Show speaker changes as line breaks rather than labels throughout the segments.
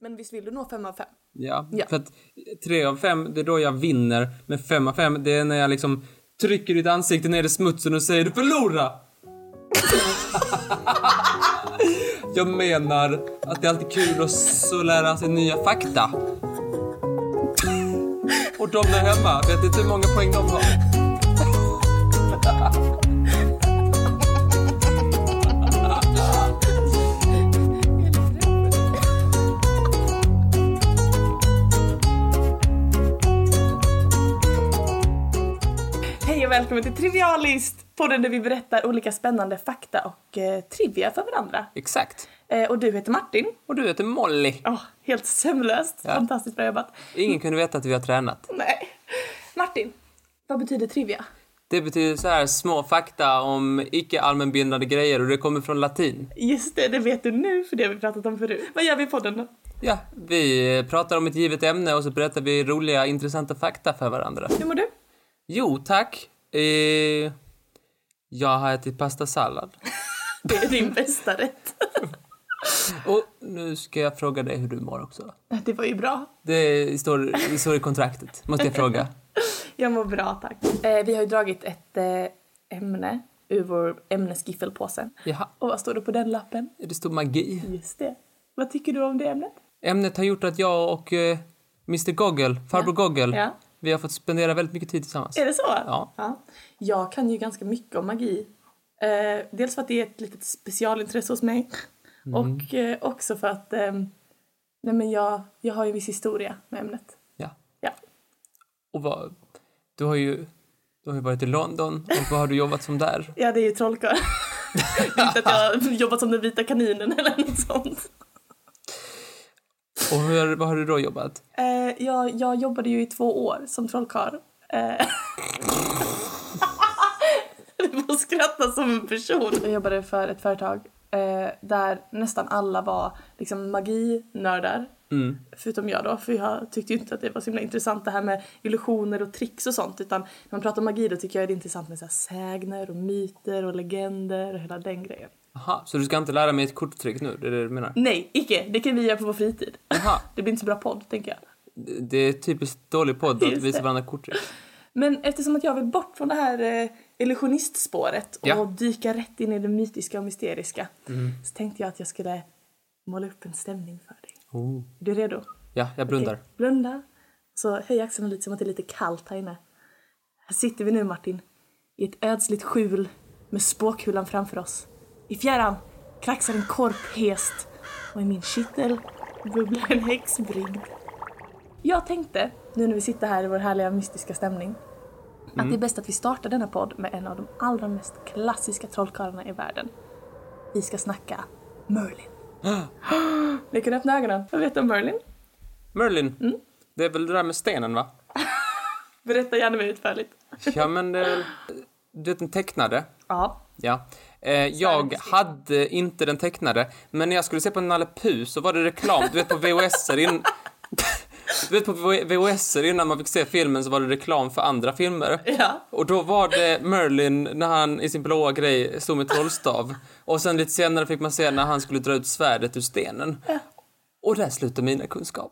men visst vill du nå fem av fem?
Ja,
Ja.
för att tre av fem, det är då jag vinner. Men fem av fem, det är när jag liksom trycker ditt ansikte ner i smutsen och säger du förlorar! jag menar att det är alltid kul att så lära sig nya fakta. och de där hemma, vet inte hur många poäng de har?
Hej och välkommen till Trivialist! Podden där vi berättar olika spännande fakta och eh, trivia för varandra.
Exakt.
Eh, och du heter Martin.
Och du heter Molly.
Åh, helt sömlöst.
Ja.
Fantastiskt bra jobbat.
Ingen kunde veta att vi har tränat.
Nej. Martin, vad betyder trivia?
Det betyder så här små fakta om icke allmänbindande grejer och det kommer från latin.
Just det, det vet du nu för det har vi pratat om förut. Vad gör vi i podden då?
Ja, vi pratar om ett givet ämne och så berättar vi roliga, intressanta fakta för varandra.
Hur mår du?
Jo, tack. Eh, jag har ätit pastasallad.
Det är din bästa rätt.
Och nu ska jag fråga dig hur du mår också.
Det var ju bra.
Det står, det står i kontraktet, måste jag fråga.
Jag mår bra tack. Eh, vi har ju dragit ett eh, ämne ur vår ämnesgiffelpåse.
Jaha,
Och vad står det på den lappen?
det stod magi.
Just det. Vad tycker du om det ämnet?
Ämnet har gjort att jag och eh, Mr Goggle, farbror Goggle,
Ja.
vi har fått spendera väldigt mycket tid tillsammans.
Är det så?
Ja.
Jag kan ju ganska mycket om magi. Eh, dels för att det är ett litet specialintresse hos mig. Och eh, också för att ehm, nej men jag, jag har ju en viss historia med ämnet.
Ja.
Ja.
Och vad, du har ju du har ju varit i London och vad har du jobbat som där?
Ja, det är ju trollkarl. Det är inte att jag har jobbat som den vita kaninen eller något sånt.
Och hur, vad har du då jobbat?
Eh, jag, jag jobbade ju i två år som trollkarl. Eh. Du får skratta som en person. Jag jobbade för ett företag eh, där nästan alla var liksom maginördar.
Mm.
Förutom jag då, för jag tyckte ju inte att det var så himla intressant det här med illusioner och tricks och sånt. Utan när man pratar om magi då tycker jag det är intressant med så här sägner och myter och legender och hela den grejen.
Aha, så du ska inte lära mig ett korttrick nu? Det är det du menar?
Nej, icke. Det kan vi göra på vår fritid.
Aha,
Det blir inte så bra podd, tänker jag.
det det är typiskt dålig podd att
Just
visa
det.
varandra korttrick.
Men eftersom att jag vill bort från det här eh, illusionistspåret och
Ja.
dyka rätt in i det mytiska och mysteriska så tänkte jag att jag skulle måla upp en stämning för dig.
Oh.
Är du redo?
Ja, jag blundar.
Okej, Blunda. Så höj axlarna lite som att det är lite kallt här inne. Här sitter vi nu Martin. I ett ödsligt skjul med spåkulan framför oss. I fjärran kraxar en korphest och i min kittel bubblar en häxbrygd. Jag tänkte, nu när vi sitter här i vår härliga mystiska stämning, att det är bäst att vi startar denna podd med en av de allra mest klassiska trollkarlarna i världen. Vi ska snacka Merlin. Ni kan öppna ögonen. Vad vet du om Merlin?
Merlin,
Mm.
det är väl det där med stenen va?
Berätta gärna mer utförligt.
Ja men det är väl, Du vet den tecknade?
Ja.
Ja. Eh, jag hade inte den tecknade, men när jag skulle se på Nalle Puh så var det reklam. Du vet på VHS in... Du vet på VHS innan man fick se filmen så var det reklam för andra filmer.
Ja.
Och då var det Merlin när han i sin blåa grej stod med trollstav. Och sen lite senare fick man se när han skulle dra ut svärdet ur stenen. Och där slutade mina kunskaper.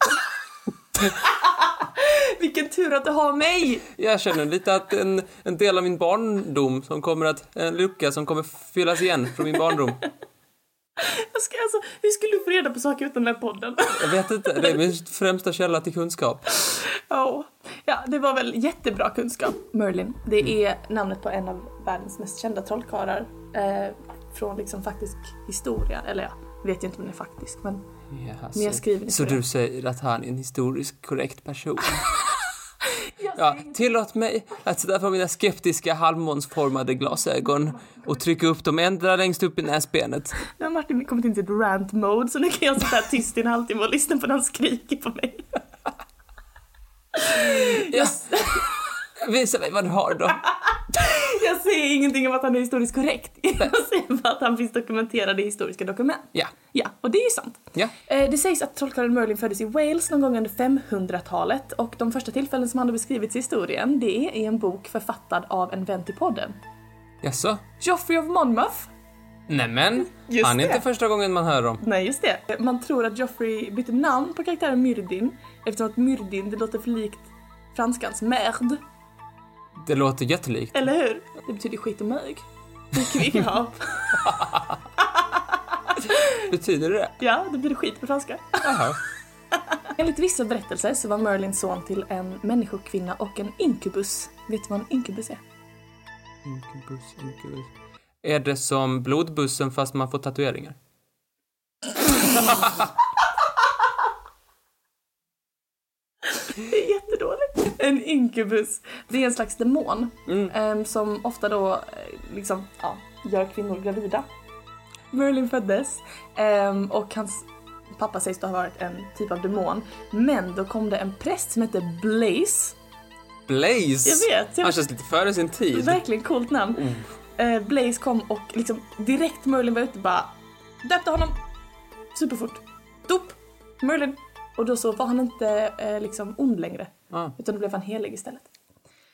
Vilken tur att du har mig!
Jag känner lite att en, en del av min barndom som kommer att, en lucka som kommer fyllas igen från min barndom.
Jag ska, alltså, hur skulle du få reda på saker utan den här podden?
Jag vet inte, det är min främsta källa till kunskap.
Ja. Ja, det var väl jättebra kunskap. Merlin, det är namnet på en av världens mest kända trollkarlar. Eh, från liksom faktisk historia, eller ja, vet ju inte om den är faktisk men
Ja,
Men jag skriver det
så
på det.
du säger att han är en historiskt korrekt person?
ja.
Ja, tillåt mig att sätta på mina skeptiska halvmånsformade glasögon och trycka upp dem ändra längst upp i näsbenet.
Nu har Martin kommit in till ett rant mode så nu kan jag sitta här tyst i en halvtimme och lyssna på när han skriker på mig.
Ja, visa mig vad du har då.
Jag säger ingenting om att han är historiskt korrekt. Jag säger bara att han finns dokumenterad i historiska dokument.
Ja,
Ja, och det är ju sant.
ja,
Eh, Det sägs att trollkarlen Merlin föddes i Wales någon gång under 500-talet och de första tillfällen som han har beskrivits i historien det är i en bok författad av en vän till podden.
jaså?
Geoffrey of Monmouth
Nämen,
Just
han är
det.
inte första gången man hör om.
Nej, just det. Man tror att Joffrey bytte namn på karaktären Myrdin eftersom att Myrdin, det låter för likt franskans merde.
Det låter jättelikt.
Eller hur? Det betyder skit och mög. Kvickhav.
Betyder det det?
Ja, det betyder skit på franska.
Jaha.
Enligt vissa berättelser så var Merlin son till en människokvinna och en inkubus. Vet du vad en inkubus är?
Inkubus, inkubus. Är det som blodbussen fast man får tatueringar?
Det är jättedåligt. Mm. En inkubus, det är en slags demon em, som ofta då eh, liksom, ja, gör kvinnor gravida. Merlin föddes em, och hans pappa sägs då ha varit en typ av demon. Men då kom det en präst som hette Blaze.
Blaze!
Jag vet, jag
Han
vet.
känns lite före sin tid.
Verkligen coolt namn. Eh, Blaze kom och liksom direkt Merlin var ute bara döpte honom superfort. Dop! Merlin! Och då så var han inte eh, liksom ond längre.
Ah,
Utan då blev han helig istället.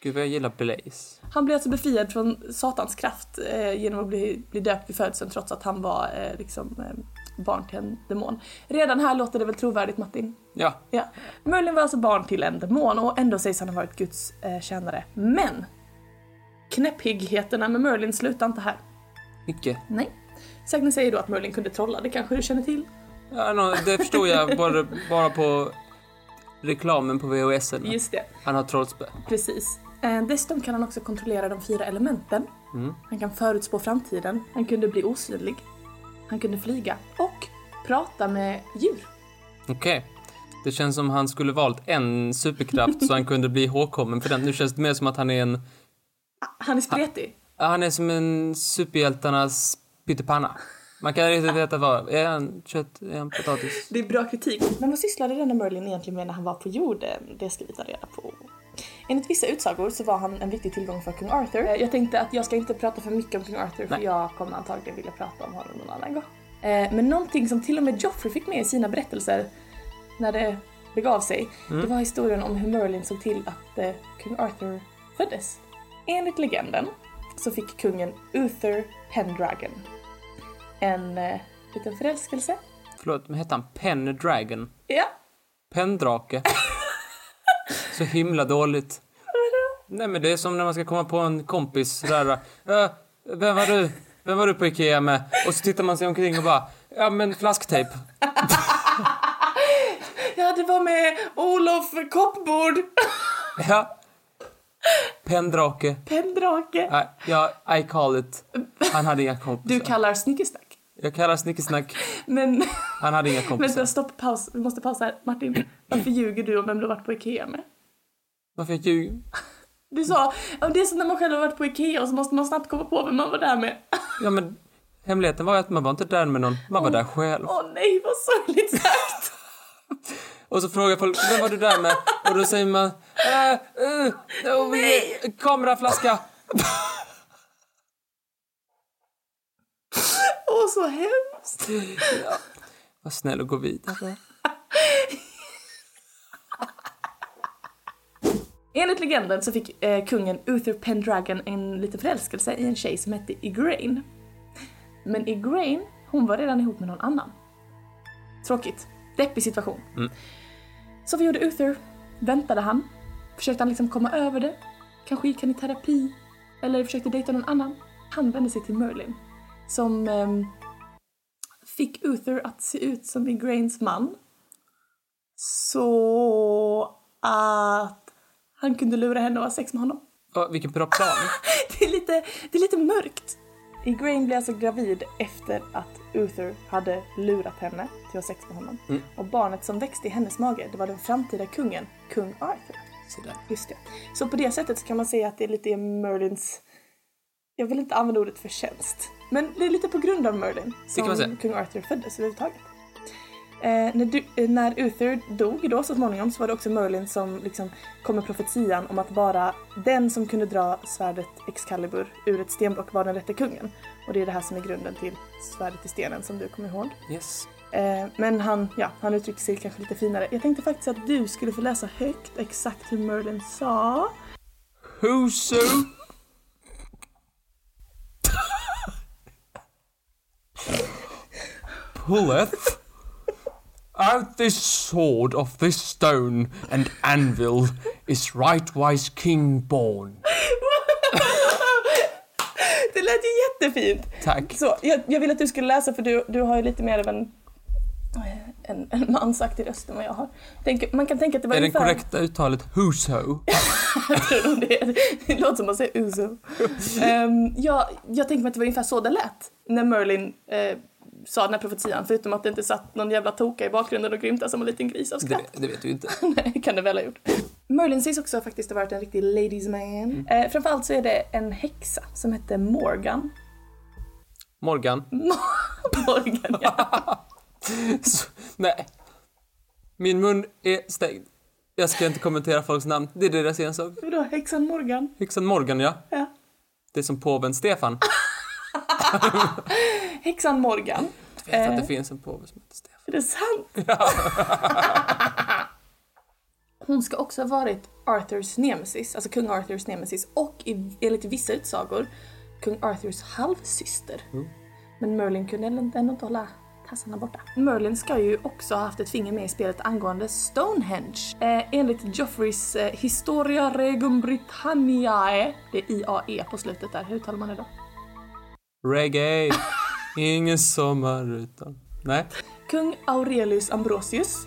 gud vad jag gillar Blaze.
Han blev alltså befriad från Satans kraft eh, genom att bli, bli döpt vid födseln trots att han var eh, liksom, eh, barn till en demon. Redan här låter det väl trovärdigt Martin?
Ja,
Ja. Merlin var alltså barn till en demon och ändå sägs han ha varit Guds eh, tjänare. Men! Knäpphyggheten med Merlin slutar inte här.
mycket.
Nej. Sägnen säger då att Merlin kunde trolla, det kanske du känner till?
Ja, nå, det förstod jag bara, bara på reklamen på VHS.
Just det.
Han har trollspö.
Precis. Eh, dessutom kan han också kontrollera de fyra elementen. Han kan förutspå framtiden. Han kunde bli osynlig. Han kunde flyga. Och prata med djur.
Okej. Det känns som han skulle valt en superkraft så han kunde bli ihågkommen för den. Nu känns det mer som att han är en...
Han är spretig.
ja, Han är som en superhjältarnas pyttipanna. Man kan inte veta vad... Är han kött? Är han potatis?
Det är bra kritik. Men vad sysslade denna Merlin egentligen med när han var på jorden? Det ska vi ta reda på. Enligt vissa utsagor så var han en viktig tillgång för kung Arthur. Eh, Jag tänkte att jag ska inte prata för mycket om kung Arthur för jag kommer antagligen vilja prata om honom någon annan gång. Eh, Men någonting som till och med Joffrey fick med i sina berättelser när det begav sig, det var historien om hur Merlin såg till att eh, kung Arthur föddes. Enligt legenden så fick kungen Uther Pendragon en eh, liten förälskelse.
Förlåt, men hette han Pendragon?
Ja,
Pendrake? så himla dåligt. Nej men det är som när man ska komma på en kompis sådär. Äh, vem var du? Vem var du på Ikea med? Och så tittar man sig omkring och bara, ja men flasktejp.
Ja, det var med Olof Koppbord,
Ja. Pendrake.
Pendrake.
Nej, jag, I call it. Han hade inga kompisar.
Du kallar snickesnack.
Jag kallar snickesnack.
Men
Han hade inga kompisar.
vänta, stopp, paus. Vi måste pausa här. Martin, varför ljuger du om vem du har varit på Ikea med?
Varför jag ljuger?
Du sa, ja, det är som när man själv har varit på Ikea och så måste man snabbt komma på vem man var där med.
Ja men, hemligheten var ju att man var inte där med någon. Man var där själv.
Åh nej, vad sorgligt sagt.
Och så frågar folk vem var du där med? Och då säger man äh, uh, oh, eh, kameraflaska.
Åh, så hemskt.
Var snäll och gå vidare.
Enligt legenden så fick eh, kungen Uther Pendragon en liten förälskelse i en tjej som hette Igraine. Men Igraine, hon var redan ihop med någon annan. Tråkigt. Deppig situation. Så vad gjorde Uther? Väntade han? Försökte han liksom komma över det? Kanske gick han i terapi? Eller försökte dejta någon annan? Han vände sig till Merlin. Som ehm, fick Uther att se ut som Igraines man. Så att han kunde lura henne och ha sex med honom.
Åh, vilken bra plan.
Det är lite, det är lite mörkt. Igraine blev alltså gravid efter att Uther hade lurat henne till att ha sex med honom. Och barnet som växte i hennes mage, det var den framtida kungen, kung Arthur.
Så där.
Just det. Så på det sättet så kan man säga att det är lite Merlins... Jag vill inte använda ordet förtjänst. Men det är lite på grund av Merlin
kan man säga.
som kung Arthur föddes överhuvudtaget. Eh, när, du, eh, när Uther dog då så småningom så var det också Merlin som liksom kom med profetian om att bara den som kunde dra svärdet Excalibur ur ett stenblock var den rätte kungen. Och det är det här som är grunden till svärdet i stenen som du kommer ihåg.
Yes.
Eh, men han, ja, han uttryckte sig kanske lite finare. Jag tänkte faktiskt att du skulle få läsa högt exakt hur Merlin sa.
Whoso? pulleth out this sword of this stone and anvil is rightwise king born.
Det lät ju jättefint.
Tack.
Så, jag, jag vill att du skulle läsa för du, du har ju lite mer av en, en, en mansaktig röst än vad jag har. Tänk, man kan tänka att det var
Är det
ungefär...
korrekta uttalet Huso?
Jag tror nog det, det låter som att säga Uzo. Ehm, ja, jag tänker mig att det var ungefär så det lät när Merlin eh, sa den här profetian. Förutom att det inte satt någon jävla toka i bakgrunden och grymtade som en liten gris av skratt.
Det, det vet du inte.
Nej, kan det väl ha gjort. Merlin sägs också faktiskt ha varit en riktig ladies man. Eh, framförallt så är det en häxa som hette Morgan.
Morgan.
Morgan, ja.
Så- Nej. Min mun är stängd. Jag ska inte kommentera folks namn. Det är deras ensak.
Vadå, häxan Morgan?
Häxan Morgan, ja.
Ja.
Det är som påven Stefan.
Häxan Morgan.
Jag vet att
Eh.
det finns en påve som heter Stefan.
Är det sant? Hon ska också ha varit Arthurs nemesis, alltså kung Arthurs nemesis och i, enligt vissa utsagor kung Arthurs halvsyster. Men Merlin kunde ändå ändå inte hålla tassarna borta. Merlin ska ju också ha haft ett finger med i spelet angående Stonehenge. Eh, enligt Geoffreys eh, Historia Regum Britanniae, det är IAE på slutet där, hur uttalar man det då?
Reggae. Ingen sommar utan... Nej,
Kung Aurelius Ambrosius,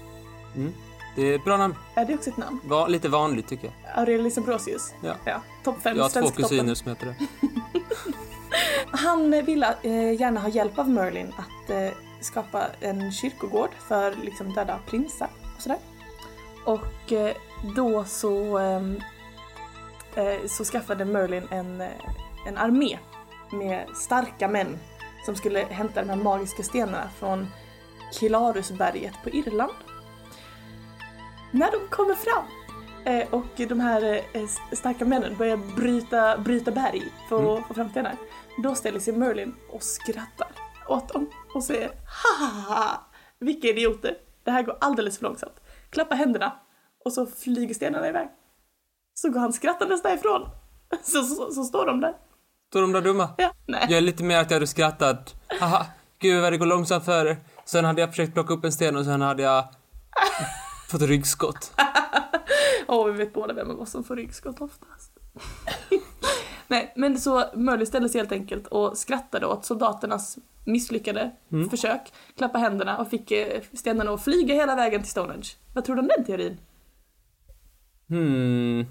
det är ett bra namn.
är det också ett namn?
Va, lite vanligt tycker jag.
Aurelius Ambrosius.
Ja.
Ja, topp fem
Jag har två
svensk toppen.
kusiner som heter det.
Han ville eh, gärna ha hjälp av Merlin att eh, skapa en kyrkogård för liksom, döda prinsar och sådär. Och eh, då så, ehm, eh, så skaffade Merlin en, eh, en armé med starka män som skulle hämta de här magiska stenarna från Kilarusberget på Irland. När de kommer fram eh, och de här eh, s- starka männen börjar bryta, bryta berg för att få fram stenar, då ställer sig Merlin och skrattar åt dem och säger ha ha ha, vilka idioter, det här går alldeles för långsamt. Klappa händerna och så flyger stenarna iväg. Så går han skrattandes därifrån. Så, så, så står de där.
Står de där dumma?
Ja, nej.
Jag är lite mer att jag hade skrattat. Haha, gud vad det går långsamt för er. Sen hade jag försökt plocka upp en sten och sen hade jag fått ryggskott.
Åh, vi vet båda vem av oss som får ryggskott oftast. Nej, men så Murley ställde sig helt enkelt och skrattade åt soldaternas misslyckade försök, klappa händerna och fick eh, stenarna att flyga hela vägen till Stonehenge. Vad tror du om den teorin?
Hmm.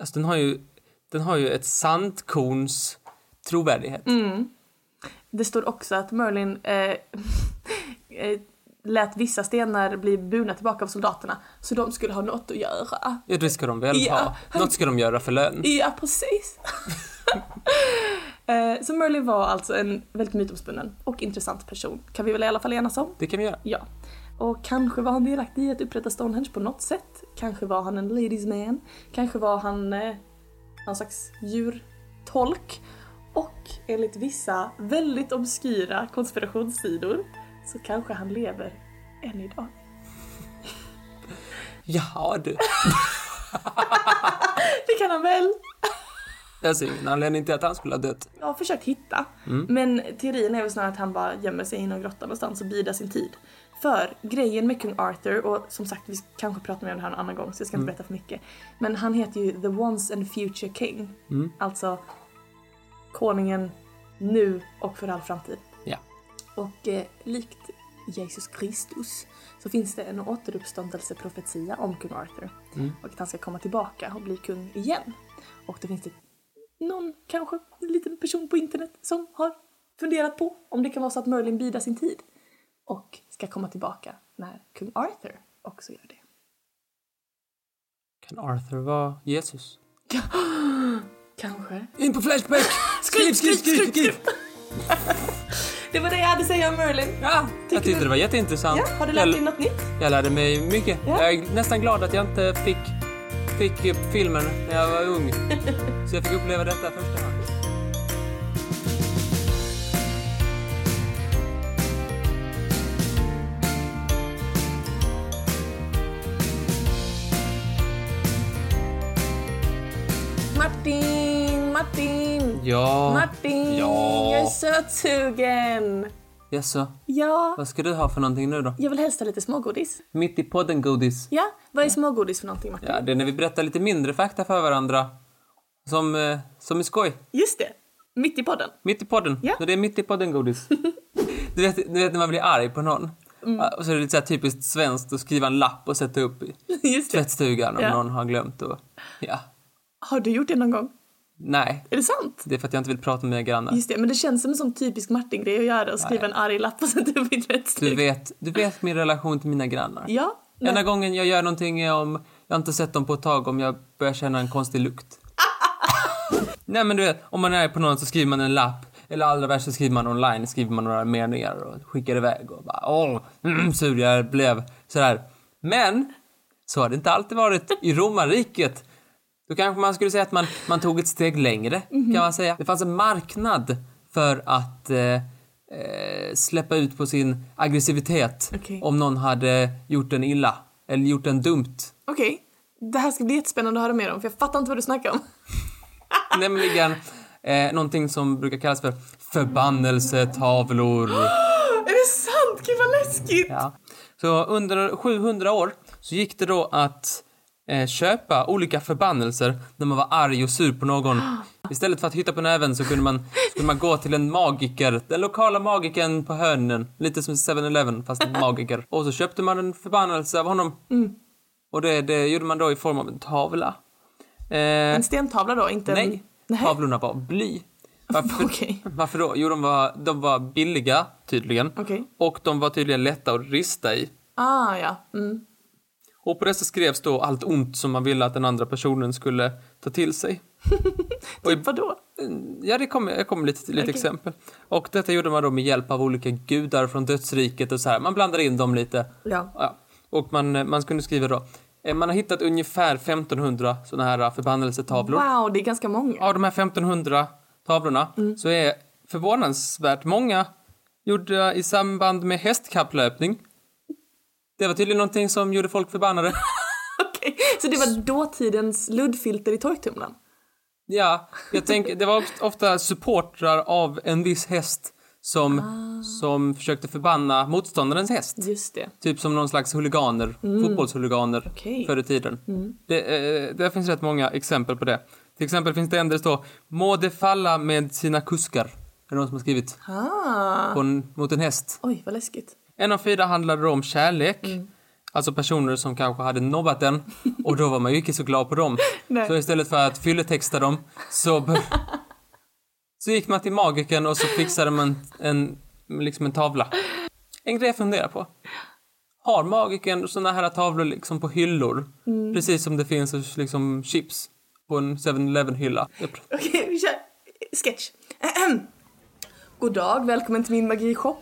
Alltså den har ju, den har ju ett sandkorns trovärdighet.
Mm. Det står också att Merlin eh, eh, lät vissa stenar bli burna tillbaka av soldaterna, så de skulle ha något att göra.
Ja, det ska de väl
Ja,
ha.
han-
Något ska de göra för lön.
Ja, precis. eh, så Merlin var alltså en väldigt mytomspunnen och intressant person, kan vi väl i alla fall enas om?
Det kan vi göra.
Ja. Och kanske var han delaktig i att upprätta Stonehenge på något sätt. Kanske var han en ladies man. Kanske var han eh, någon slags djurtolk. Och enligt vissa väldigt obskyra konspirationssidor så kanske han lever än idag.
Jaha du.
Det kan han väl?
Jag ser alltså ingen anledning till att han skulle ha dött.
Jag har försökt hitta. Men teorin är väl snarare att han bara gömmer sig i någon grotta någonstans och bidar sin tid. För grejen med kung Arthur, och som sagt vi kanske pratar mer om det här en annan gång så jag ska inte berätta för mycket. Men han heter ju the once and future king. Alltså konungen nu och för all framtid.
Ja.
Och eh, likt Jesus Kristus så finns det en återuppståndelseprofetia om kung Arthur. Och att han ska komma tillbaka och bli kung igen. Och då finns det någon, kanske en liten person på internet som har funderat på om det kan vara så att Merlin bidar sin tid. Och ska komma tillbaka när kung Arthur också gör det.
Kan Arthur vara Jesus?
Kanske.
In på Flashback! Skriv, skriv, skriv, skriv!
Det var det jag hade att säga om Merlin.
Ja, jag tyckte
du-
det var jätteintressant.
Ja, har du
Jag-
lärt dig något nytt?
Jag lärde mig mycket.
Ja.
Jag är nästan glad att jag inte fick, fick eh, filmen när jag var ung. Så jag fick uppleva detta första hand.
Martin, Martin,
Ja.
Martin!
Ja.
Jag är sötsugen!
Jaså,
Ja,
vad ska du ha för någonting nu då?
jag vill helst ha lite smågodis.
Mitt i podden godis.
Ja, vad är smågodis för någonting Martin?
Ja, det är när vi berättar lite mindre fakta för varandra. Som, eh, som är skoj.
Just det, mitt i podden.
Mitt i podden.
Ja.
Så det är mitt i podden godis. du, vet, du vet när man blir arg på någon.
Mm.
Ja, Och så är det lite så här typiskt svenskt att skriva en lapp och sätta upp i
Just det.
tvättstugan om
Ja.
någon har glömt och Ja.
Har du gjort det någon gång?
Nej.
Är det sant?
Det är för att jag inte vill prata med mina grannar.
Just det, men det känns som en sån typisk Martin-grej att göra, att skriva en arg lapp och sätta upp i
Du
tvättstugan.
vet, du vet min relation till mina grannar.
Ja, nej.
Enda gången jag gör någonting är om jag inte sett dem på ett tag om jag börjar känna en konstig lukt. Nej men du vet, om man är på någon så skriver man en lapp. Eller allra värst så skriver man online, skriver man några meningar och skickar iväg och bara åh, mm, sur jag blev. Sådär. Men, så har det inte alltid varit i romarriket. Då kanske man skulle säga att man, man tog ett steg längre, kan man säga. Det fanns en marknad för att eh, eh, släppa ut på sin aggressivitet
Okej.
om någon hade gjort en illa eller gjort en dumt.
Okej, det här ska bli jättespännande att höra mer om för jag fattar inte vad du snackar om.
Nämligen eh, någonting som brukar kallas för förbannelsetavlor.
Är det sant? Gud vad läskigt!
Ja. Så under 700 år så gick det då att eh, köpa olika förbannelser när man var arg och sur på någon. Istället för att hitta på näven så kunde man, så kunde man gå till en magiker, den lokala magikern på hörnen. Lite som 7-Eleven fast en magiker. Och så köpte man en förbannelse av honom. Och det, det gjorde man då i form av en tavla. Eh,
En stentavla då, inte
nej,
en... Nej.
tavlorna var av bly. Varför,
Okej.
varför då? Jo, de var, de var billiga tydligen.
Okej.
Och de var tydligen lätta att rista i.
Ah, ja. Mm.
Och på dessa skrevs då allt ont som man ville att den andra personen skulle ta till sig. Oj.
Typ vadå?
Ja, det kommer jag kommer lite, lite exempel. Och detta gjorde man då med hjälp av olika gudar från dödsriket och så här. Man blandade in dem lite.
Ja.
Ja. Och man, man kunde skriva då. eh, Man har hittat ungefär 1500 sådana här förbannelsetavlor.
Wow, det är ganska många.
Av de här 1500 tavlorna så är förvånansvärt många gjorda i samband med hästkapplöpning. Det var tydligen någonting som gjorde folk förbannade.
Okej, så det var dåtidens luddfilter i torktumlaren?
Ja, jag tänker, det var oft- ofta supportrar av en viss häst som, som försökte förbanna motståndarens häst.
Just det.
Typ som någon slags huliganer, fotbollshuliganer
Mm. Okej. Mm.
förr i tiden. Det, eh, där finns rätt många exempel på det. Till exempel finns det en där det står “Må det falla med sina kuskar”. Det är någon som har skrivit.
Ah.
På en, mot en häst.
Oj, vad läskigt.
En av fyra handlade då om kärlek. Alltså personer som kanske hade nobbat den och då var man ju inte så glad på dem.
Nej.
Så istället för att fylletexta dem så, be- så gick man till magiken och så fixade man en, liksom en tavla. En grej jag funderar på. Har magiken såna här tavlor liksom på hyllor? Precis som det finns liksom chips på en 7-Eleven hylla. Jag pr-
Okej, vi kör sketch. Ahem. God dag, välkommen till min magishop.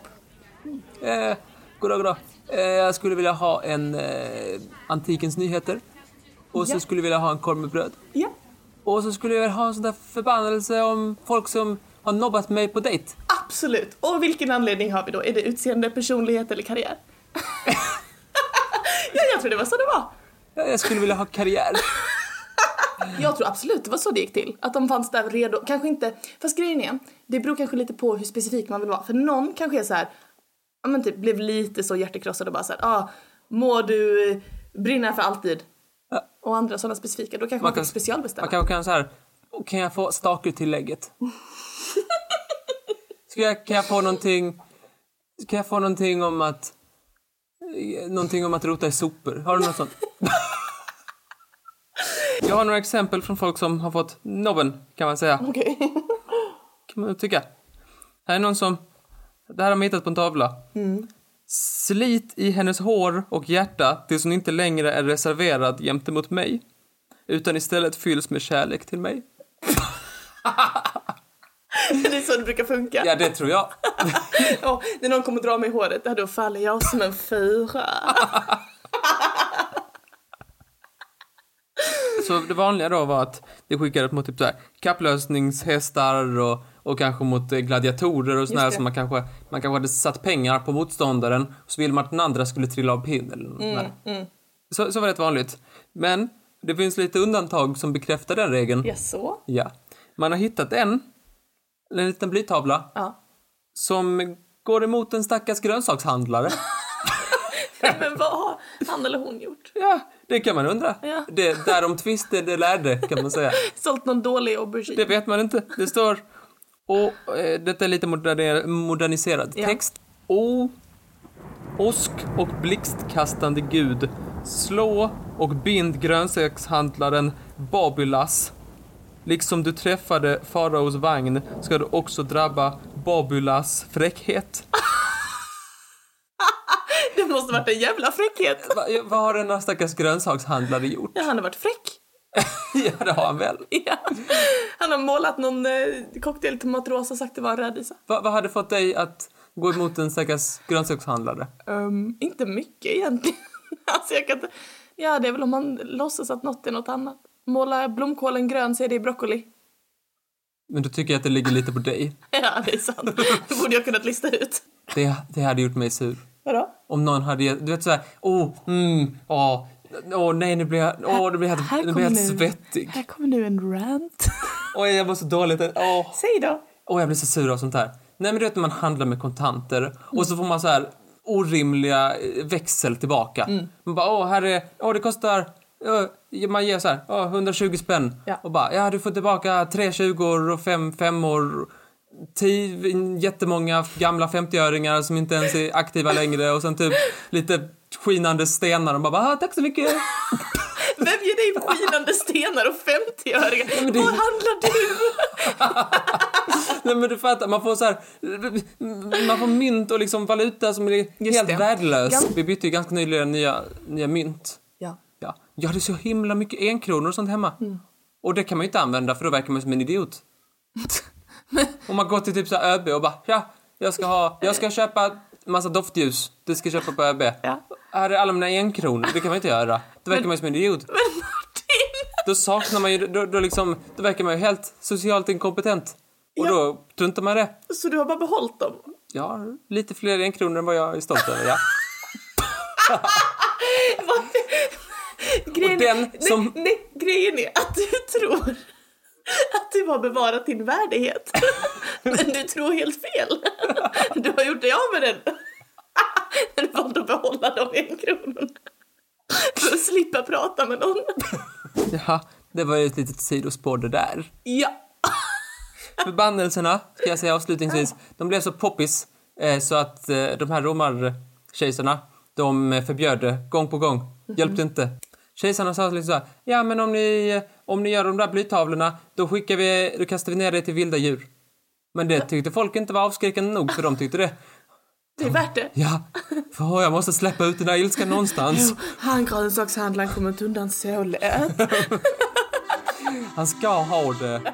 Eh, goddag, goddag. Eh, jag skulle vilja ha en eh, Antikens Nyheter. Och så
Ja.
skulle jag vilja ha en korv med bröd.
Ja.
Och så skulle jag vilja ha en sån där förbannelse om folk som har nobbat mig på dejt.
Absolut. Och vilken anledning har vi då? Är det utseende, personlighet eller karriär? ja, jag tror det var så det var.
Eh, Jag skulle vilja ha karriär.
Jag tror absolut det var så det gick till. Att de fanns där redo. Kanske inte, fast grejen är, det beror kanske lite på hur specifik man vill vara. För någon kanske är så här, ja men typ blev lite så hjärtekrossad och bara så här, ah, må du eh, brinna för alltid.
Ja.
Och andra sådana specifika, då kanske man, fick specialbeställa.
Man kanske kan så här. Kan jag få stakeltillägget? Ska jag, kan jag få någonting... Kan jag få någonting om att... eh, Någonting om att rota i sopor? Har du något sånt? Jag har några exempel från folk som har fått nobben, kan man säga.
Okej.
kan man tycka. Här är någon som... Det här har man hittat på en tavla. Slit i hennes hår och hjärta tills hon inte längre är reserverad jämte mot mig. Utan istället fylls med kärlek till mig.
det är så det brukar funka.
Ja, det tror jag.
Ja, när någon kommer dra mig i håret, ja, då faller jag som en fyra.
Så det vanliga då var att det skickades mot typ så här kapplösningshästar och, och kanske mot eh, gladiatorer och sådär
det.
som man kanske, man kanske hade satt pengar på motståndaren och så ville man att den andra skulle trilla av pinn eller något
Mm,
sånt där. så, så var det rätt vanligt. Men det finns lite undantag som bekräftar den regeln.
Ja, så.
Ja. Man har hittat en, en liten blytavla
Ja.
som går emot en stackars grönsakshandlare.
Men vad har han eller hon gjort?
Ja, det kan man undra.
Ja.
Det, därom tvister det lärde, kan man säga.
Sålt någon dålig aubergine?
Det vet man inte. Det står... Och eh, detta är lite moderni- moderniserad
Ja.
text. O... Osk och blixtkastande gud. Slå och bind grönsakshandlaren Babylas. Liksom du träffade faraos vagn ska du också drabba Babylas fräckhet.
Det måste varit en jävla fräckhet.
Va, ja, vad har denna stackars grönsakshandlare gjort?
Ja, han har varit fräck.
ja, det har han väl.
Ja. Han har målat någon eh, cocktail tomatrosa och sagt det var en rädisa.
Va, vad hade fått dig att gå emot en stackars grönsakshandlare?
Ehm, inte mycket egentligen. alltså jag kan inte... Ja, det är väl om man låtsas att något är något annat. Måla blomkålen grön så är det broccoli.
Men då tycker jag att det ligger lite på dig.
Ja, det är sant. Det borde jag kunnat lista ut.
Det, det hade gjort mig sur.
Vadå?
Om någon hade gett- du vet såhär, åh, oh, mm, åh, åh nej nu blir jag, åh nu blir jag,
Här
helt- nu blir jag helt
kommer nu.
svettig.
Här kommer nu en rant.
Åh jag mår så dåligt, åh, oh,
Säg då.
jag blir så sur av sånt här. Nej men du vet när man handlar med kontanter och så får man så här orimliga eh, växel tillbaka. Man bara, åh här är, åh det kostar, eh, man ger så här, åh 120 spänn.
Ja.
Och bara, ja du får tillbaka tre 20 och fem femmor. Tio, jättemånga gamla 50-öringar som inte ens är aktiva längre och sen typ lite skinande stenar och man bara, ah, tack så mycket.
Vem ger dig skinande stenar och 50-öringar?
det-
Var handlar du?
Nej men du fattar, man får så här, man får mynt och liksom valuta som är helt
det.
värdelös.
Gam-
Vi bytte ju ganska nyligen nya, nya mynt.
Ja.
Ja. Jag hade så himla mycket enkronor och sånt hemma.
Mm.
Och det kan man ju inte använda för då verkar man som en idiot. och man går till typ så här ÖB och bara ja, jag ska ha, jag ska köpa massa doftljus. Du ska köpa på ÖB.
Ja.
Här är alla mina enkronor. Det kan man inte göra. Då verkar man ju som en idiot.
Men Martin!
Då saknar man ju, då, då liksom, då verkar man ju helt socialt inkompetent. Och
Ja.
då struntar man i det.
Så du har bara behållit dem?
Jag har lite fler enkronor än vad jag är stolt över, ja.
Grejen,
Och den
nej,
som-
nej, grejen är att du tror att du har bevarat din värdighet. Men du tror helt fel. Du har gjort dig av med den. Du valde att behålla de en kronan. För att slippa prata med någon.
Jaha, det var ju ett litet sidospår det där.
Ja.
Förbannelserna, ska jag säga avslutningsvis, de blev så poppis eh, så att eh, de här romarkejsarna, de eh, förbjöd det gång på gång. Hjälpte inte. Kejsarna sa liksom så här, ja men om ni, eh, om ni gör de där blytavlorna, då skickar vi, då kastar vi ner det till vilda djur. Men det tyckte folk inte var avskräckande nog, för de tyckte det.
Det är värt det.
Ja, för jag måste släppa ut den här ilskan någonstans.
Han grönsakshandlaren kommer inte undan så lätt.
Han ska ha det.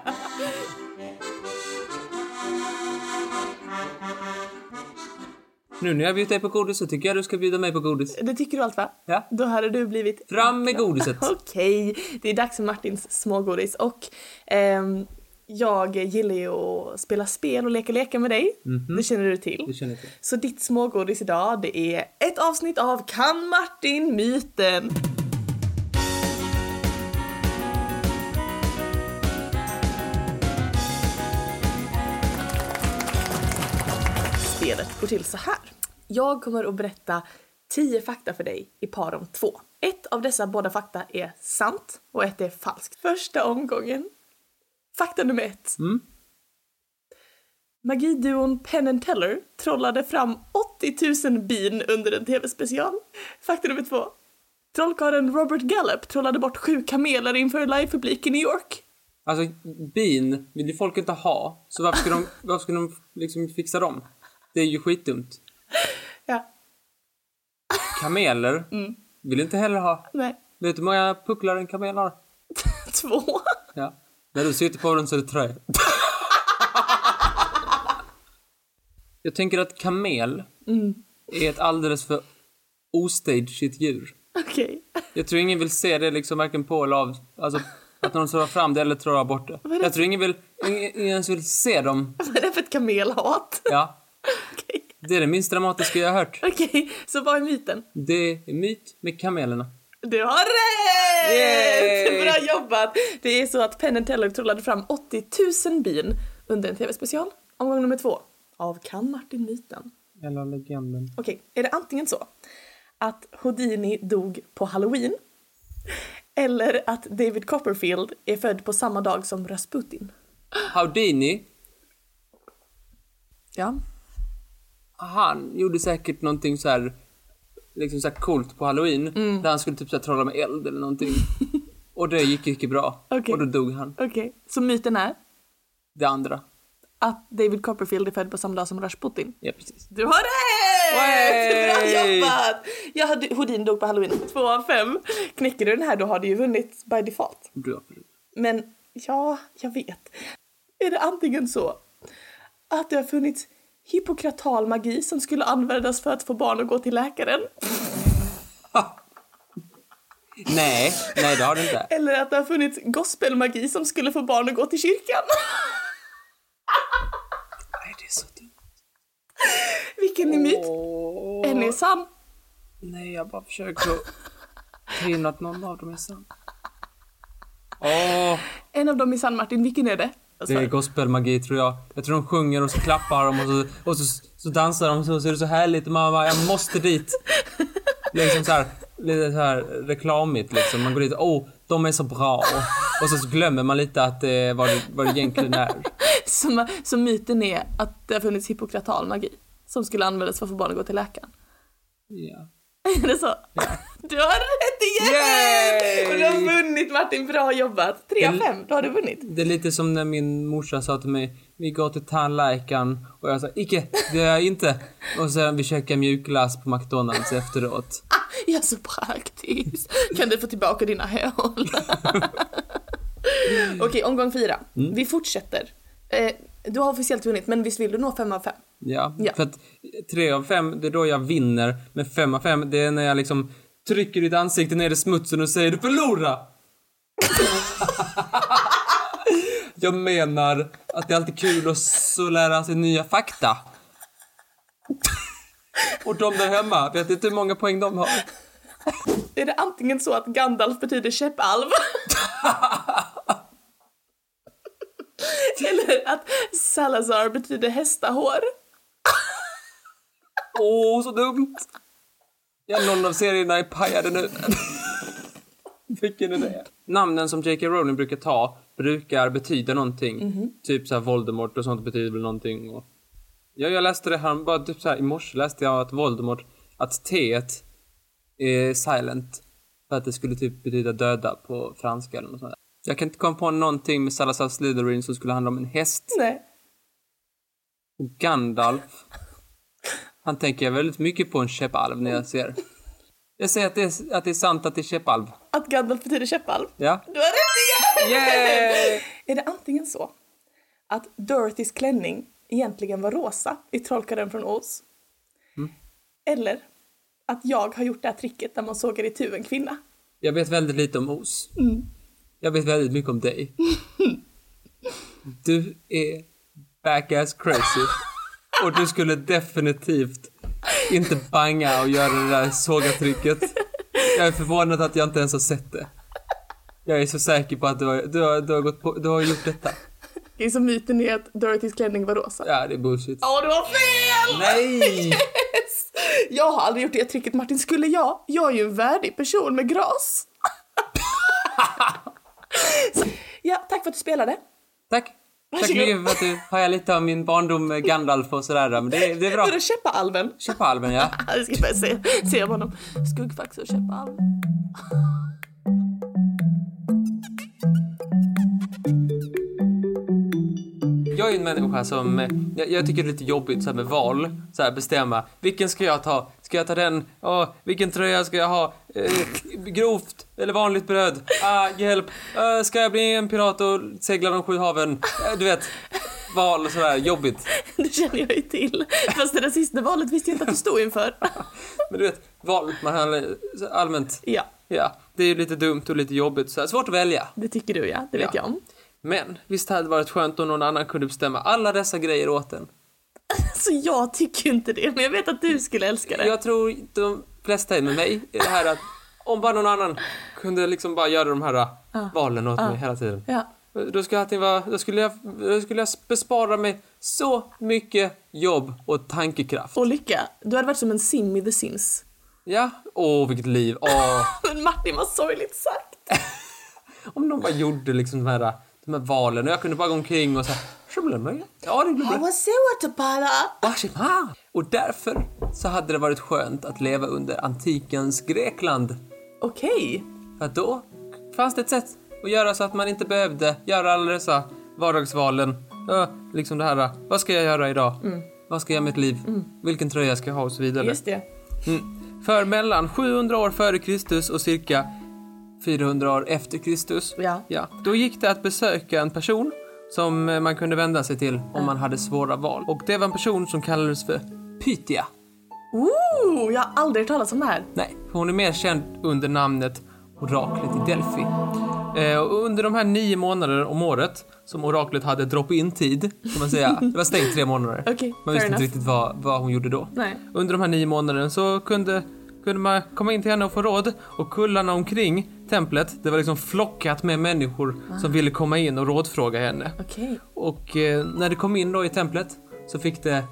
Nu när jag bjudit dig på godis så tycker jag du ska bjuda mig på godis.
Det tycker du allt va?
Ja.
Då hade du blivit
Fram med godiset!
Okej, det är dags för Martins smågodis och ehm, jag gillar ju att spela spel och leka leka med dig. Det känner du
Det
till.
känner jag till.
Så ditt smågodis idag det är ett avsnitt av Kan Martin myten? Spelet går till så här. Jag kommer att berätta 10 fakta för dig i par om två. Ett av dessa båda fakta är sant och ett är falskt. Första omgången. Fakta nummer ett. Magiduon Penn and Teller trollade fram 80 000 bin under en tv-special. Fakta nummer två. Trollkarlen Robert Gallup trollade bort sju kameler inför livepublik i New York.
Alltså, bin vill ju folk inte ha, så varför ska de, varför ska de liksom fixa dem? Det är ju skitdumt.
Ja,
Kameler vill inte heller ha.
nej.
Vet du hur många pucklar en kamel har?
Två.
Ja. När du sitter på den så är det tröja. Jag tänker att kamel
Mm.
är ett alldeles för ostageigt djur.
Okej.
Jag tror ingen vill se det liksom varken på eller av. Alltså att någon trollar fram det eller trollar bort det.
är det?
Jag tror ingen vill, ingen, ingen ens vill se dem.
Vad är det för ett kamelhat?
Ja.
Okej.
Det är det minst dramatiska jag har hört.
Okej, så vad är myten?
Det är myt med kamelerna.
Du har rätt!
Yay!
Bra jobbat! Det är så att Penn and Teller trollade fram 80 000 bin under en tv-special. Omgång nummer två av Kan Martin myten?
Eller legenden.
Okej, är det antingen så att Houdini dog på halloween eller att David Copperfield är född på samma dag som Rasputin?
Houdini,
Ja.
han gjorde säkert någonting så här liksom så här coolt på halloween där han skulle typ så här trolla med eld eller någonting. Och det gick inte bra.
Okej.
Och då dog han.
Okej, så myten är
Det andra.
att David Copperfield är född på samma dag som Rasputin?
Ja, precis.
Du har rätt! Bra
Yay!
jobbat! Jag hade, Houdin dog på halloween. Två av fem. Knäcker du den här då har du ju vunnit by default.
Du har förlorat.
Men ja, jag vet. Är det antingen så att det har funnits hippokratal magi som skulle användas för att få barn att gå till läkaren?
Nej, nej det har du inte.
Eller att det har funnits gospelmagi som skulle få barn att gå till kyrkan?
Nej, det är så dumt.
Vilken är myt?
Åh.
En är sann.
Nej, jag bara försöker att hinna att någon av dem är sann. Åh,
En av dem är sann, Martin. Vilken är det? Jag
det
svarar.
är gospelmagi tror jag. Jag tror de sjunger och så klappar de och så, och så, så dansar de och så, så är det så härligt och man bara, jag måste dit. Liksom så här, lite så här reklamigt liksom. Man går dit, åh, de är så bra. Och så glömmer man lite att det är vad det, vad det egentligen är.
Som, som myten är att det har funnits hippokratal magi som skulle användas för att få barn att gå till läkaren.
Ja.
Är det så? Du har rätt igen!
Yay!
Och du har vunnit Martin, bra jobbat! Tre av
Det-
fem, då har du vunnit.
Det är lite som när min morsa sa till mig, vi går till tandläkaren och jag sa, icke, det gör jag inte. Och sen vi käkar mjukglass på McDonalds efteråt.
Ah, jag är så praktisk. Kan du få tillbaka dina hål? Okej, omgång fyra. Vi fortsätter. Eh, du har officiellt vunnit, men visst vill du nå fem av fem?
Ja,
Ja.
för att tre av fem, det är då jag vinner. Men fem av fem, det är när jag liksom trycker ditt ansikte ner i smutsen och säger, du förlorar! jag menar att det är alltid kul att så lära sig nya fakta. och de där hemma, vet inte hur många poäng de har?
Är det antingen så att Gandalf betyder käppalv? Eller att Salazar betyder hästahår?
Åh, så dumt! Ja, någon av serierna är pajade nu. Vilken är det? Namnen som J.K. Rowling brukar ta brukar betyda någonting. Typ så här Voldemort och sånt betyder väl någonting. Och... Ja, jag läste det här, bara typ så här, i morse läste jag att Voldemort, att T är silent. För att det skulle typ betyda döda på franska eller något sånt. där. Jag kan inte komma på någonting med Salazar Slytherin som skulle handla om en häst.
Nej.
Och Gandalf. Han tänker jag väldigt mycket på en käppalv när jag ser. Jag säger att det är, att det är sant att det är käppalv.
Att Gandalf betyder käppalv?
Ja.
Du har rätt igen!
Yay!
Är det antingen så att Dorothys klänning egentligen var rosa i Trollkarlen från Oz?
Mm.
Eller att jag har gjort det här tricket där man sågar i en kvinna?
Jag vet väldigt lite om Os. Jag vet väldigt mycket om dig. Du är backass crazy. Och du skulle definitivt inte banga och göra det där sågatrycket. Jag är förvånad att jag inte ens har sett det. Jag är så säker på att du har, du har, du har, gått på, du har gjort detta.
Det är som myten är att Dorothys klänning var rosa.
Ja, det är bullshit.
Ja, du har fel!
Nej!
Yes! Jag har aldrig gjort det tricket Martin, skulle jag? Jag är ju en värdig person med gras. Så- ja, tack för att du spelade.
Tack! Tack så
Varsågod.
mycket för att du har jag lite av min barndom med Gandalf och sådär men det, det är bra.
Var det käppalven?
Köpa alven ja.
Ja, Jag ska bara se, se om honom. Skuggfax och käppalv.
Jag är ju en människa som, eh, jag, jag tycker det är lite jobbigt så här med val, så här bestämma, vilken ska jag ta? Ska jag ta den? Åh, vilken tröja ska jag ha? Eh, grovt eller vanligt bröd? Ah, hjälp! Eh, ska jag bli en pirat och segla de sju haven? Eh, du vet, val och sådär, jobbigt.
Det känner jag ju till. Fast det där sista valet visste jag inte att du stod inför.
Men du vet, val, man handlar allmänt,
Ja,
ja, det är ju lite dumt och lite jobbigt så här, svårt att välja.
det tycker du ja, det vet
Ja.
jag om.
Men visst hade det varit skönt om någon annan kunde bestämma alla dessa grejer åt en.
Så jag tycker ju inte det, men jag vet att du skulle älska det.
Jag tror de flesta är med mig i det här att om bara någon annan kunde liksom bara göra de här äh, valen åt mig hela tiden.
Ja.
Då skulle, allting vara, då, skulle jag, då skulle jag bespara mig så mycket jobb och tankekraft.
Och lycka. Du hade varit som en sim i The Sims.
Ja, åh vilket liv. Åh.
Men Martin, vad sorgligt sagt.
Om de bara gjorde liksom de här, de här valen och jag kunde bara gå omkring och säga Ja, det blir bra.
Vad säger du, Pala? Ah.
Washima! Och därför så hade det varit skönt att leva under antikens Grekland.
Okej.
För att då fanns det ett sätt att göra så att man inte behövde göra alla dessa vardagsvalen. Ja, liksom det här, vad ska jag göra idag? Vad ska jag med mitt liv? Vilken tröja ska jag ha och så vidare.
Mm. Just det.
Mm. För mellan 700 år före Kristus och cirka 400 år efter Kristus,
Ja.
då gick det att besöka en person som eh, man kunde vända sig till om man hade svåra val. Och det var en person som kallades för Pythia.
Ooh, jag har aldrig hört talas om det här.
Nej, hon är mer känd under namnet Oraklet i Delphi. Eh, och under de här nio månader om året som oraklet hade drop-in tid, kan man säga. Det var stängt tre månader.
Okej, fair
man visste inte
enough.
riktigt vad, vad hon gjorde då.
Nej.
Under de här nio månaderna så kunde, kunde man komma in till henne och få råd och kullarna omkring templet, det var liksom flockat med människor
Ah.
som ville komma in och rådfråga henne.
Okej.
Och eh, när det kom in då i templet så fick det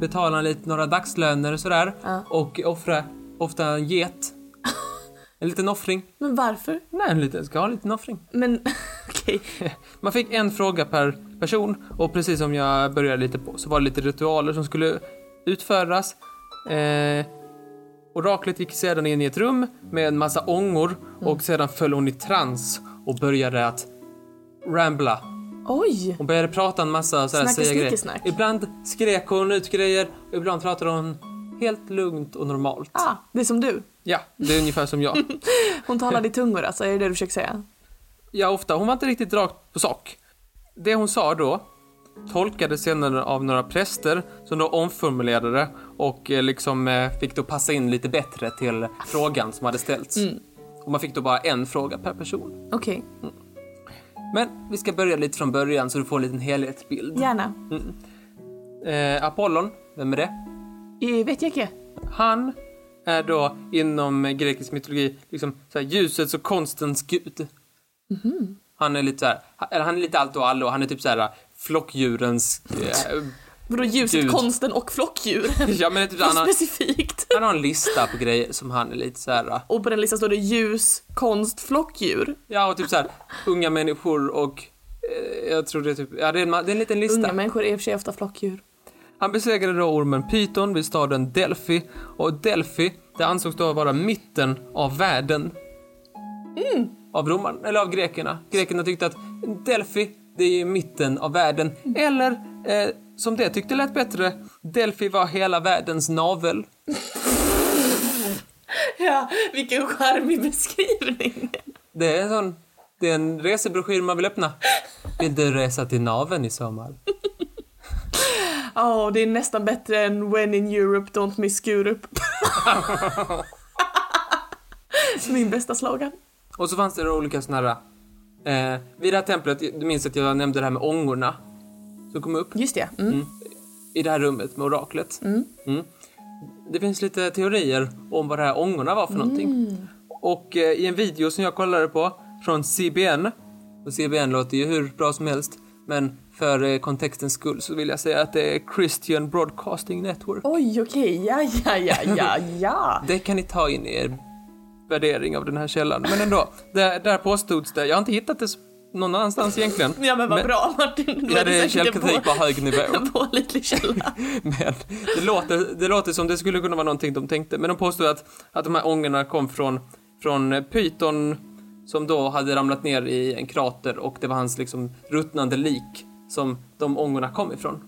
betala lite några dagslöner och sådär
Ja.
och offra ofta en get. En liten offring.
Men varför?
Nej, en liten, ska ha en liten offring.
Men okej.
Man fick en fråga per person och precis som jag började lite på så var det lite ritualer som skulle utföras. Eh, oraklet gick sedan in i ett rum med en massa ångor och sedan föll hon i trans och började att rambla.
Oj!
Hon började prata en massa sådär,
Snacka
säga grejer.
snickesnack.
Ibland skrek hon ut grejer och ibland pratade hon helt lugnt och normalt.
Ah, det är som du.
Ja, det är ungefär som jag.
Hon talade i tungor alltså, är det det du försöker säga?
Ja, ofta. Hon var inte riktigt rakt på sak. Det hon sa då tolkades senare av några präster som då omformulerade det och eh, liksom eh, fick då passa in lite bättre till frågan som hade ställts. Och man fick då bara en fråga per person.
Okej,
Men vi ska börja lite från början så du får en liten helhetsbild.
gärna.
Eh, Apollon, vem är det?
Eh, vet jag inte.
Han är då inom grekisk mytologi liksom så här, ljusets och konstens gud. Han är lite så här, han- eller han är lite allt och allo, han är typ så här flockdjurens... eh,
Vadå ljuset,
Gud.
konsten och flockdjuren?
ja, men typ, så här,
Så
han, har,
specifikt.
han har en lista på grejer som han är lite så här... eh,
Och på den listan står det ljus, konst, flockdjur.
Ja, och typ så här, unga människor och... eh, Jag tror det är typ, ja det är en, ma- det är en liten lista.
Unga människor är i och för sig ofta flockdjur.
Han besegrade då ormen Python vid staden Delphi och Delphi, det ansågs då vara mitten av världen. Av romarna, eller av grekerna. Grekerna tyckte att Delphi, det är ju mitten av världen. Eller, eh, som det tyckte lät bättre, Delphi var hela världens navel.
Ja, vilken charmig beskrivning.
Det är en sån, det är en resebroschyr man vill öppna. Vill du resa till naveln i sommar?
Ja, det är nästan bättre än When in Europe don't miss Europe. Min bästa slogan.
Och så fanns det några olika såna här... Eh, vid det här templet, du minns att jag nämnde det här med ångorna som kom upp.
Just det. Mm.
i det här rummet med oraklet. Mm. Det finns lite teorier om vad det här ångorna var för
Mm.
någonting. Och eh, i en video som jag kollade på från CBN, och CBN låter ju hur bra som helst, men för eh, kontextens skull så vill jag säga att det är Christian Broadcasting Network.
Oj, okej. Ja, ja, ja, ja, ja.
Det kan ni ta in i er värdering av den här källan. Men ändå, där, där påstods det, jag har inte hittat det s- någon annanstans egentligen.
Ja, men vad
Men-
bra Martin. Du
Ja,
hade
det är
säkert en
källkritik på
på-
hög nivå.
En pålitlig källa.
Men det låter, det låter som det skulle kunna vara någonting de tänkte. Men de påstod att, att de här ångorna kom från, från Python som då hade ramlat ner i en krater och det var hans liksom ruttnande lik som de ångorna kom ifrån.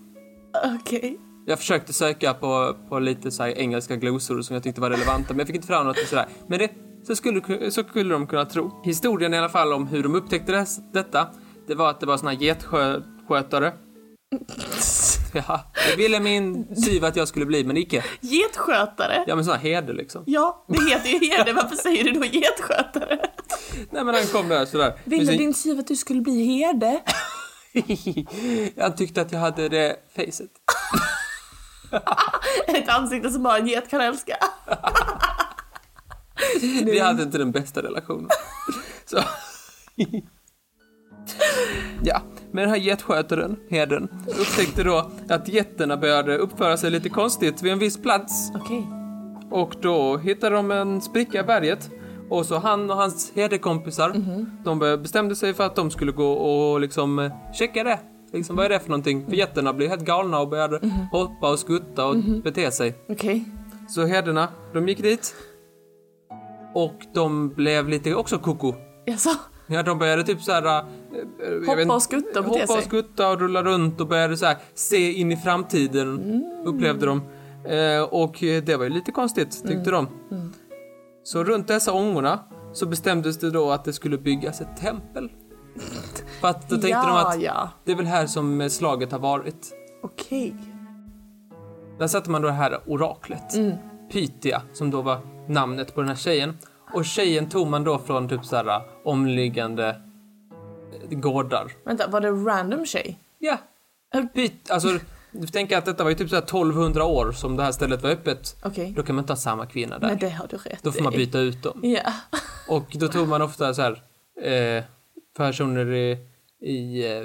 Okej.
Jag försökte söka på, på lite så här engelska glosor som jag tyckte var relevanta men jag fick inte fram något sådär. Men det, så, skulle, så skulle de kunna tro. Historien i alla fall om hur de upptäckte det, detta, det var att det var såna här getskötare. Ja, det ville min syv att jag skulle bli men icke.
Getskötare.
Ja men sån här heder liksom.
Ja, det heter ju herde. Varför säger du då getskötare?
Nej men han kom där sådär. med sin-
syv att du skulle bli herde?
Han tyckte att jag hade det facet.
Ett ansikte som bara en get kan älska.
Vi hade inte den bästa relationen. Så. Ja, men den här getskötaren, herden, upptäckte då att getterna började uppföra sig lite konstigt vid en viss plats.
Okej.
Och då hittade de en spricka i berget. Och så han och hans herdekompisar, de be- bestämde sig för att de skulle gå och liksom eh, checka det. Liksom, vad är det för någonting? För getterna blev helt galna och började hoppa och skutta och bete sig.
Okej.
Så herdarna, de gick dit. Och de blev lite också koko.
Jaså?
Ja, de började typ så här... eh, eh, jag
Hoppa
vet inte-
och skutta och bete
Hoppa
sig.
och skutta och rulla runt och började så här se in i framtiden,
Mm.
upplevde de. Eh, och eh, det var ju lite konstigt,
Mm.
tyckte de. Så runt dessa ångorna så bestämdes det då att det skulle byggas ett tempel. För att då tänkte
ja,
de att
ja.
det är väl här som eh, slaget har varit.
Okej.
Där satte man då det här oraklet. Pythia, som då var namnet på den här tjejen. Och tjejen tog man då från typ så här omliggande eh, gårdar.
Vänta, var det random tjej?
Ja. Pyt, alltså, du tänker att detta var ju typ så här 1200 år som det här stället var öppet.
Okej.
Då kan man inte ha samma kvinna där.
Nej, det har du rätt
Då får man
i.
byta ut dem.
Ja.
Och då tog man ofta så här eh, personer i, i, eh,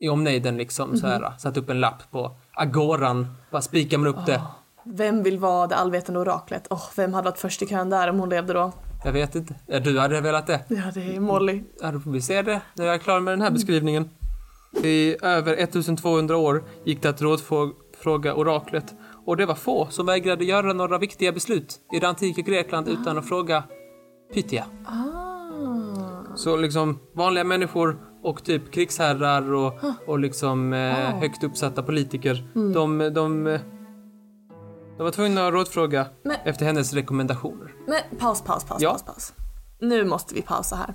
i omnejden liksom så här. Satt upp en lapp på agoran. Bara spikar man upp det.
Vem vill vara det allvetande oraklet? Åh, vem hade varit först i kön där om hon levde då?
Jag vet inte. Ja, du hade velat det.
Ja, det är Molly.
Ja, då får vi se det när jag är klar med den här beskrivningen. I över 1200 år gick det att rådfråga oraklet och det var få som vägrade göra några viktiga beslut i det antika Grekland utan att fråga Pythia.
Ah.
Så liksom vanliga människor och typ krigsherrar och, och liksom eh,
Wow.
högt uppsatta politiker. De, de, eh, de var tvungna att rådfråga
Men-
efter hennes rekommendationer.
Men paus, paus, paus,
Ja.
paus, paus. Nu måste vi pausa här.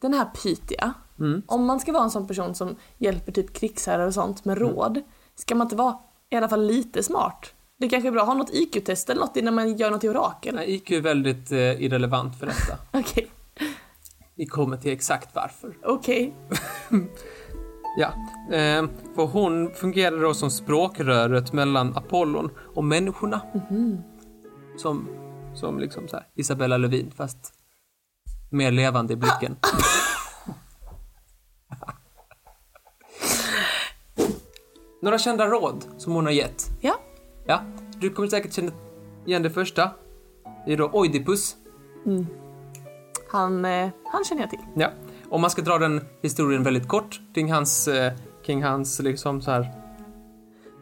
Den här Pythia,
Mm.
om man ska vara en sån person som hjälper typ krigsherrar och sånt
Mm.
med råd, ska man inte vara i alla fall lite smart? Det kanske är bra att ha något IQ-test eller något innan man gör något i orakel.
Nej, IQ är väldigt eh, irrelevant för detta.
Okej,
Vi kommer till exakt varför.
okej.
Ja, eh, för hon fungerade då som språkröret mellan Apollon och människorna. Som, som liksom så här, Isabella Lövin fast mer levande i blicken. Några kända råd som hon har gett.
Ja,
Ja, du kommer säkert känna igen det första. Det är då Oidipus.
han, eh, han känner jag till.
Ja. Om man ska dra den historien väldigt kort kring hans, eh, kring hans liksom så här,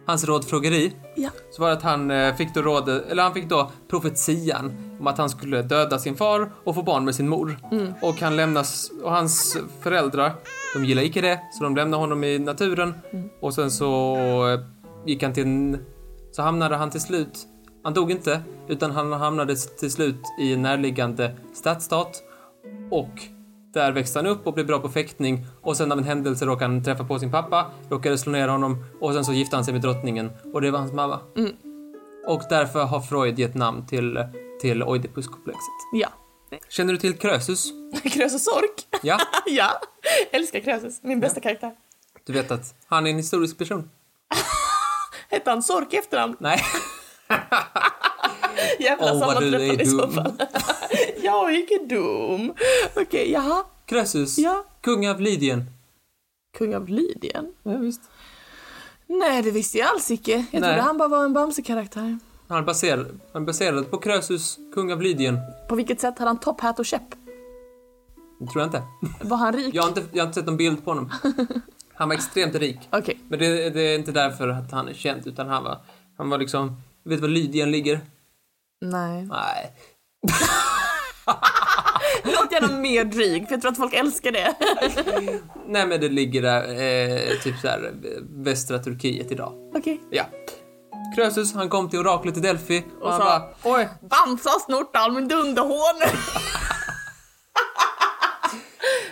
hans rådfrågeri.
Ja.
Så var det att han eh, fick då råd, eller han fick då profetian om att han skulle döda sin far och få barn med sin mor. Och han lämnas, och hans föräldrar, de gillar icke det, så de lämnar honom i naturen. Och sen så eh, gick han till en, så hamnade han till slut, han dog inte, utan han hamnade till slut i en närliggande stadsstat. Och där växte han upp och blev bra på fäktning och sen av en händelse råkade han träffa på sin pappa, råkade slå ner honom och sen så gifte han sig med drottningen och det var hans mamma. Och därför har Freud gett namn till, till Oidipuskomplexet.
Ja.
Känner du till Krösus?
Krösus Sork.
Ja,
ja, älskar Krösus. Min bästa karaktär.
du vet att han är en historisk person.
Hette han Sork i efterhand?
Nej,
Jävlar
Åh, vad du är
sammanträffande i så
dum.
fall. jag är ju dum. Okej, jaha.
Krösus,
Ja.
kung av Lydien.
Kung av Lydien?
Ja, visst.
Nej, det visste jag alls icke. Jag
Nej.
trodde han bara var en Bamse-karaktär.
Han är baserad, han är baserad på Krösus, kung av Lydien.
På vilket sätt hade han top hat och käpp?
Det tror jag inte.
Var han rik?
Jag har inte, jag har inte sett någon bild på honom. Han var extremt rik.
Okej.
Men det, det är inte därför att han är känd, utan han var, han var liksom, vet du var Lydien ligger?
Nej.
Nej.
Låt gärna mer dryg, för jag tror att folk älskar det.
Nej men det ligger där, eh, typ såhär, eh, västra Turkiet idag.
Okej.
Ja. Krösus, han kom till oraklet i Delphi och,
Och
han
sa-
bara, oj,
Bamse har snort all min dunderhån.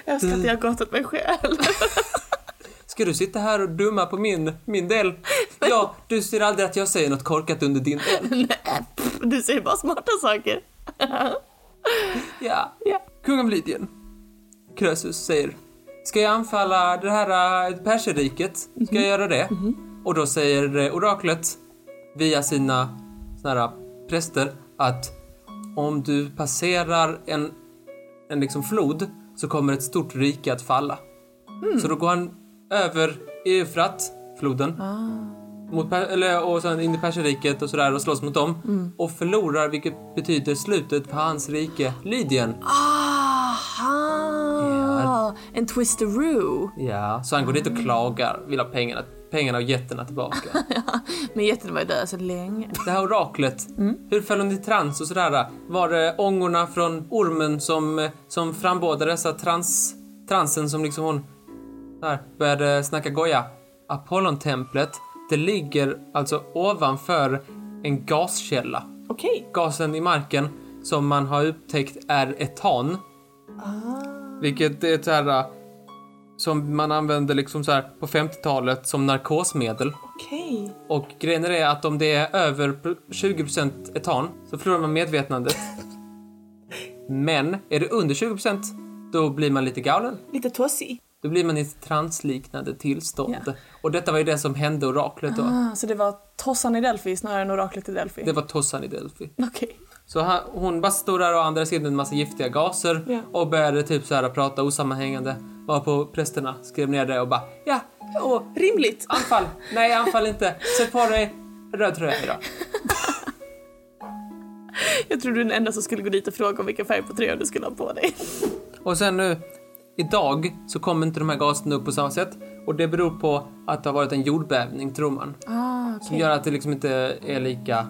jag önskar att jag har gått åt mig själv.
ska du sitta här och dumma på min, min del? Ja, du ser aldrig att jag säger något korkat under din del.
Nej, pff, du säger bara smarta saker.
Ja.
Ja.
Kung av Lydien, Krösus, säger Ska jag anfalla det här eh, perserriket? Ska jag göra det? Och då säger eh, oraklet via sina såna här präster att om du passerar en, en liksom flod så kommer ett stort rike att falla. Så då går han över Eufrat, floden. Mot, Per- eller, och sen in i Perserriket och sådär och slåss mot dem. Och förlorar, vilket betyder slutet på hans rike, Lydien.
Ah. Aha! Ah, En twisteroo.
Ja, så han går dit och klagar, vill ha pengarna, pengarna och getterna tillbaka.
Men jätten var ju död så länge.
Det här oraklet, hur föll hon i trans och sådär? Var det ångorna från ormen som, eh, som frambådade dessa trans, transen som liksom hon där, började snacka goja? Apollontemplet, det ligger alltså ovanför en gaskälla.
Okej.
Gasen i marken som man har upptäckt är etan.
Ah.
Vilket är ett så här eh, som man använde liksom så här på 50-talet som narkosmedel.
Okej.
Och grejen är det att om det är över pr- 20% etan så förlorar man medvetandet. Men är det under 20% då blir man lite galen.
Lite tossig.
Då blir man i ett transliknande tillstånd.
Ja.
Och detta var ju det som hände oraklet då.
Ah, så det var tossan i Delphi snarare än oraklet i Delphi?
Det var Tossan i Delphi.
Okej.
Så han, hon bara stod där och andades in en massa giftiga gaser
Ja.
och började typ så här prata osammanhängande. Var på prästerna skrev ner det och bara ja, och
Rimligt.
anfall, nej anfall inte, sätt på dig röd tröja idag.
Jag tror du är den enda som skulle gå dit och fråga om vilken färg på tröjan du skulle ha på dig.
Och sen nu, idag så kommer inte de här gaserna upp på samma sätt. Och det beror på att det har varit en jordbävning, tror man.
Ah,
Som gör att det liksom inte är lika,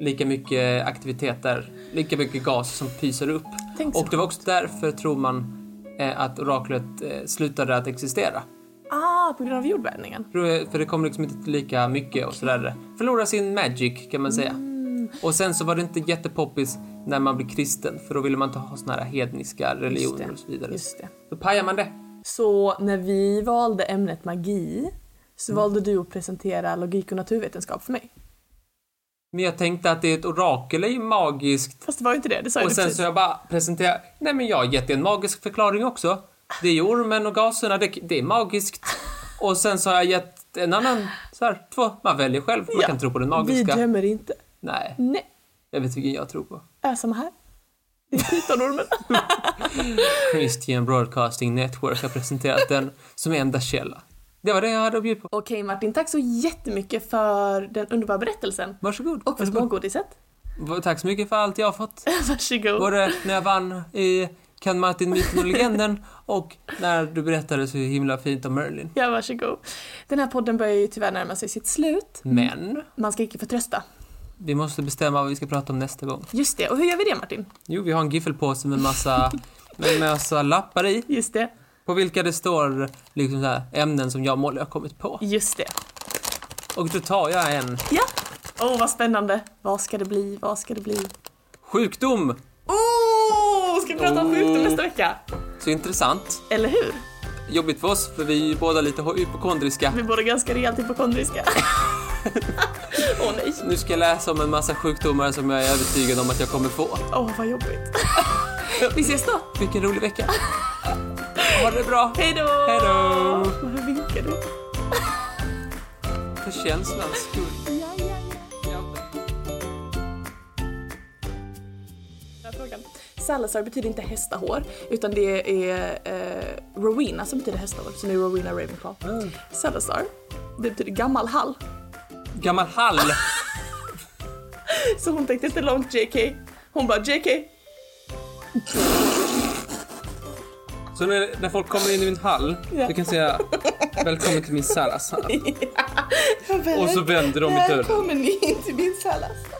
lika mycket aktiviteter, lika mycket gas som pyser upp.
Tänk så
Och det var också därför, tror man, eh, att oraklet eh, slutade att existera.
Ah, på grund av jordbävningen.
För för det kom liksom inte lika mycket och sådär. Förlorade sin magic, kan man säga.
Mm.
Och sen så var det inte jättepoppis när man blev kristen, för då ville man inte ha såna här hedniska religioner och så vidare.
Just det.
Då pajar man det.
Så när vi valde ämnet magi så valde du att presentera logik och naturvetenskap för mig.
Men jag tänkte att det är ett orakel är ju magiskt.
Fast det var ju inte det, det sa ju
Och
du
sen
precis.
så jag bara presenterar, nej men jag har gett dig en magisk förklaring också. Det är ju ormen och gaserna, det, det är magiskt. Och sen så har jag gett en annan, så här, två, man väljer själv, man
Ja.
kan tro på den
Vi
magiska.
dömer inte.
Nej,
Nej,
jag vet vilken jag tror på.
är samma här. Det är pytonormen.
Christian Broadcasting Network har presenterat den som enda källa. Det var det jag hade att bjuda på.
Okej Martin, tack så jättemycket för den underbara berättelsen.
Varsågod.
Och för smågodiset.
Varsågod. Tack så mycket för allt jag har fått.
Varsågod.
Både när jag vann i Kan Martin myten och legenden och när du berättade så himla fint om Merlin.
Ja, varsågod. Den här podden börjar ju tyvärr närma sig sitt slut.
Men
Man ska icke förtrösta.
vi måste bestämma vad vi ska prata om nästa gång.
Just det, och hur gör vi det Martin?
Jo, vi har en giffelpåse med massa, med massa lappar i
Just det,
på vilka det står liksom så här, ämnen som jag och Molly har kommit på.
just det.
Och då tar jag en.
Ja! Åh, vad spännande. Vad ska det bli? Vad ska det bli?
Sjukdom!
Oh, ska vi prata om sjukdom nästa vecka?
Så intressant.
Eller hur?
Jobbigt för oss, för vi är ju båda lite hypokondriska.
Vi är båda ganska rejält hypokondriska. Åh nej.
Nu ska jag läsa om en massa sjukdomar som jag är övertygad om att jag kommer få.
Åh, vad jobbigt. vi ses då.
Vilken rolig vecka! Ha det bra!
Hej då!
Hej då!
Varför vinkar du?
För känslans skull.
Ja, ja, ja.
Ja.
Den här frågan. Salazar betyder inte hästahår utan det är eh, Rowena som betyder hästahår, så det är Rowena Ravenclaw. Salazar, det betyder gammal hall.
Gammal hall!
Så hon tänkte inte långt JK. Hon bara JK,
Så när, när folk kommer in i min hall,
Ja.
då kan jag säga Välkommen till min Salazar. Och så vänder de i dörren.
Välkommen in till min Salazar.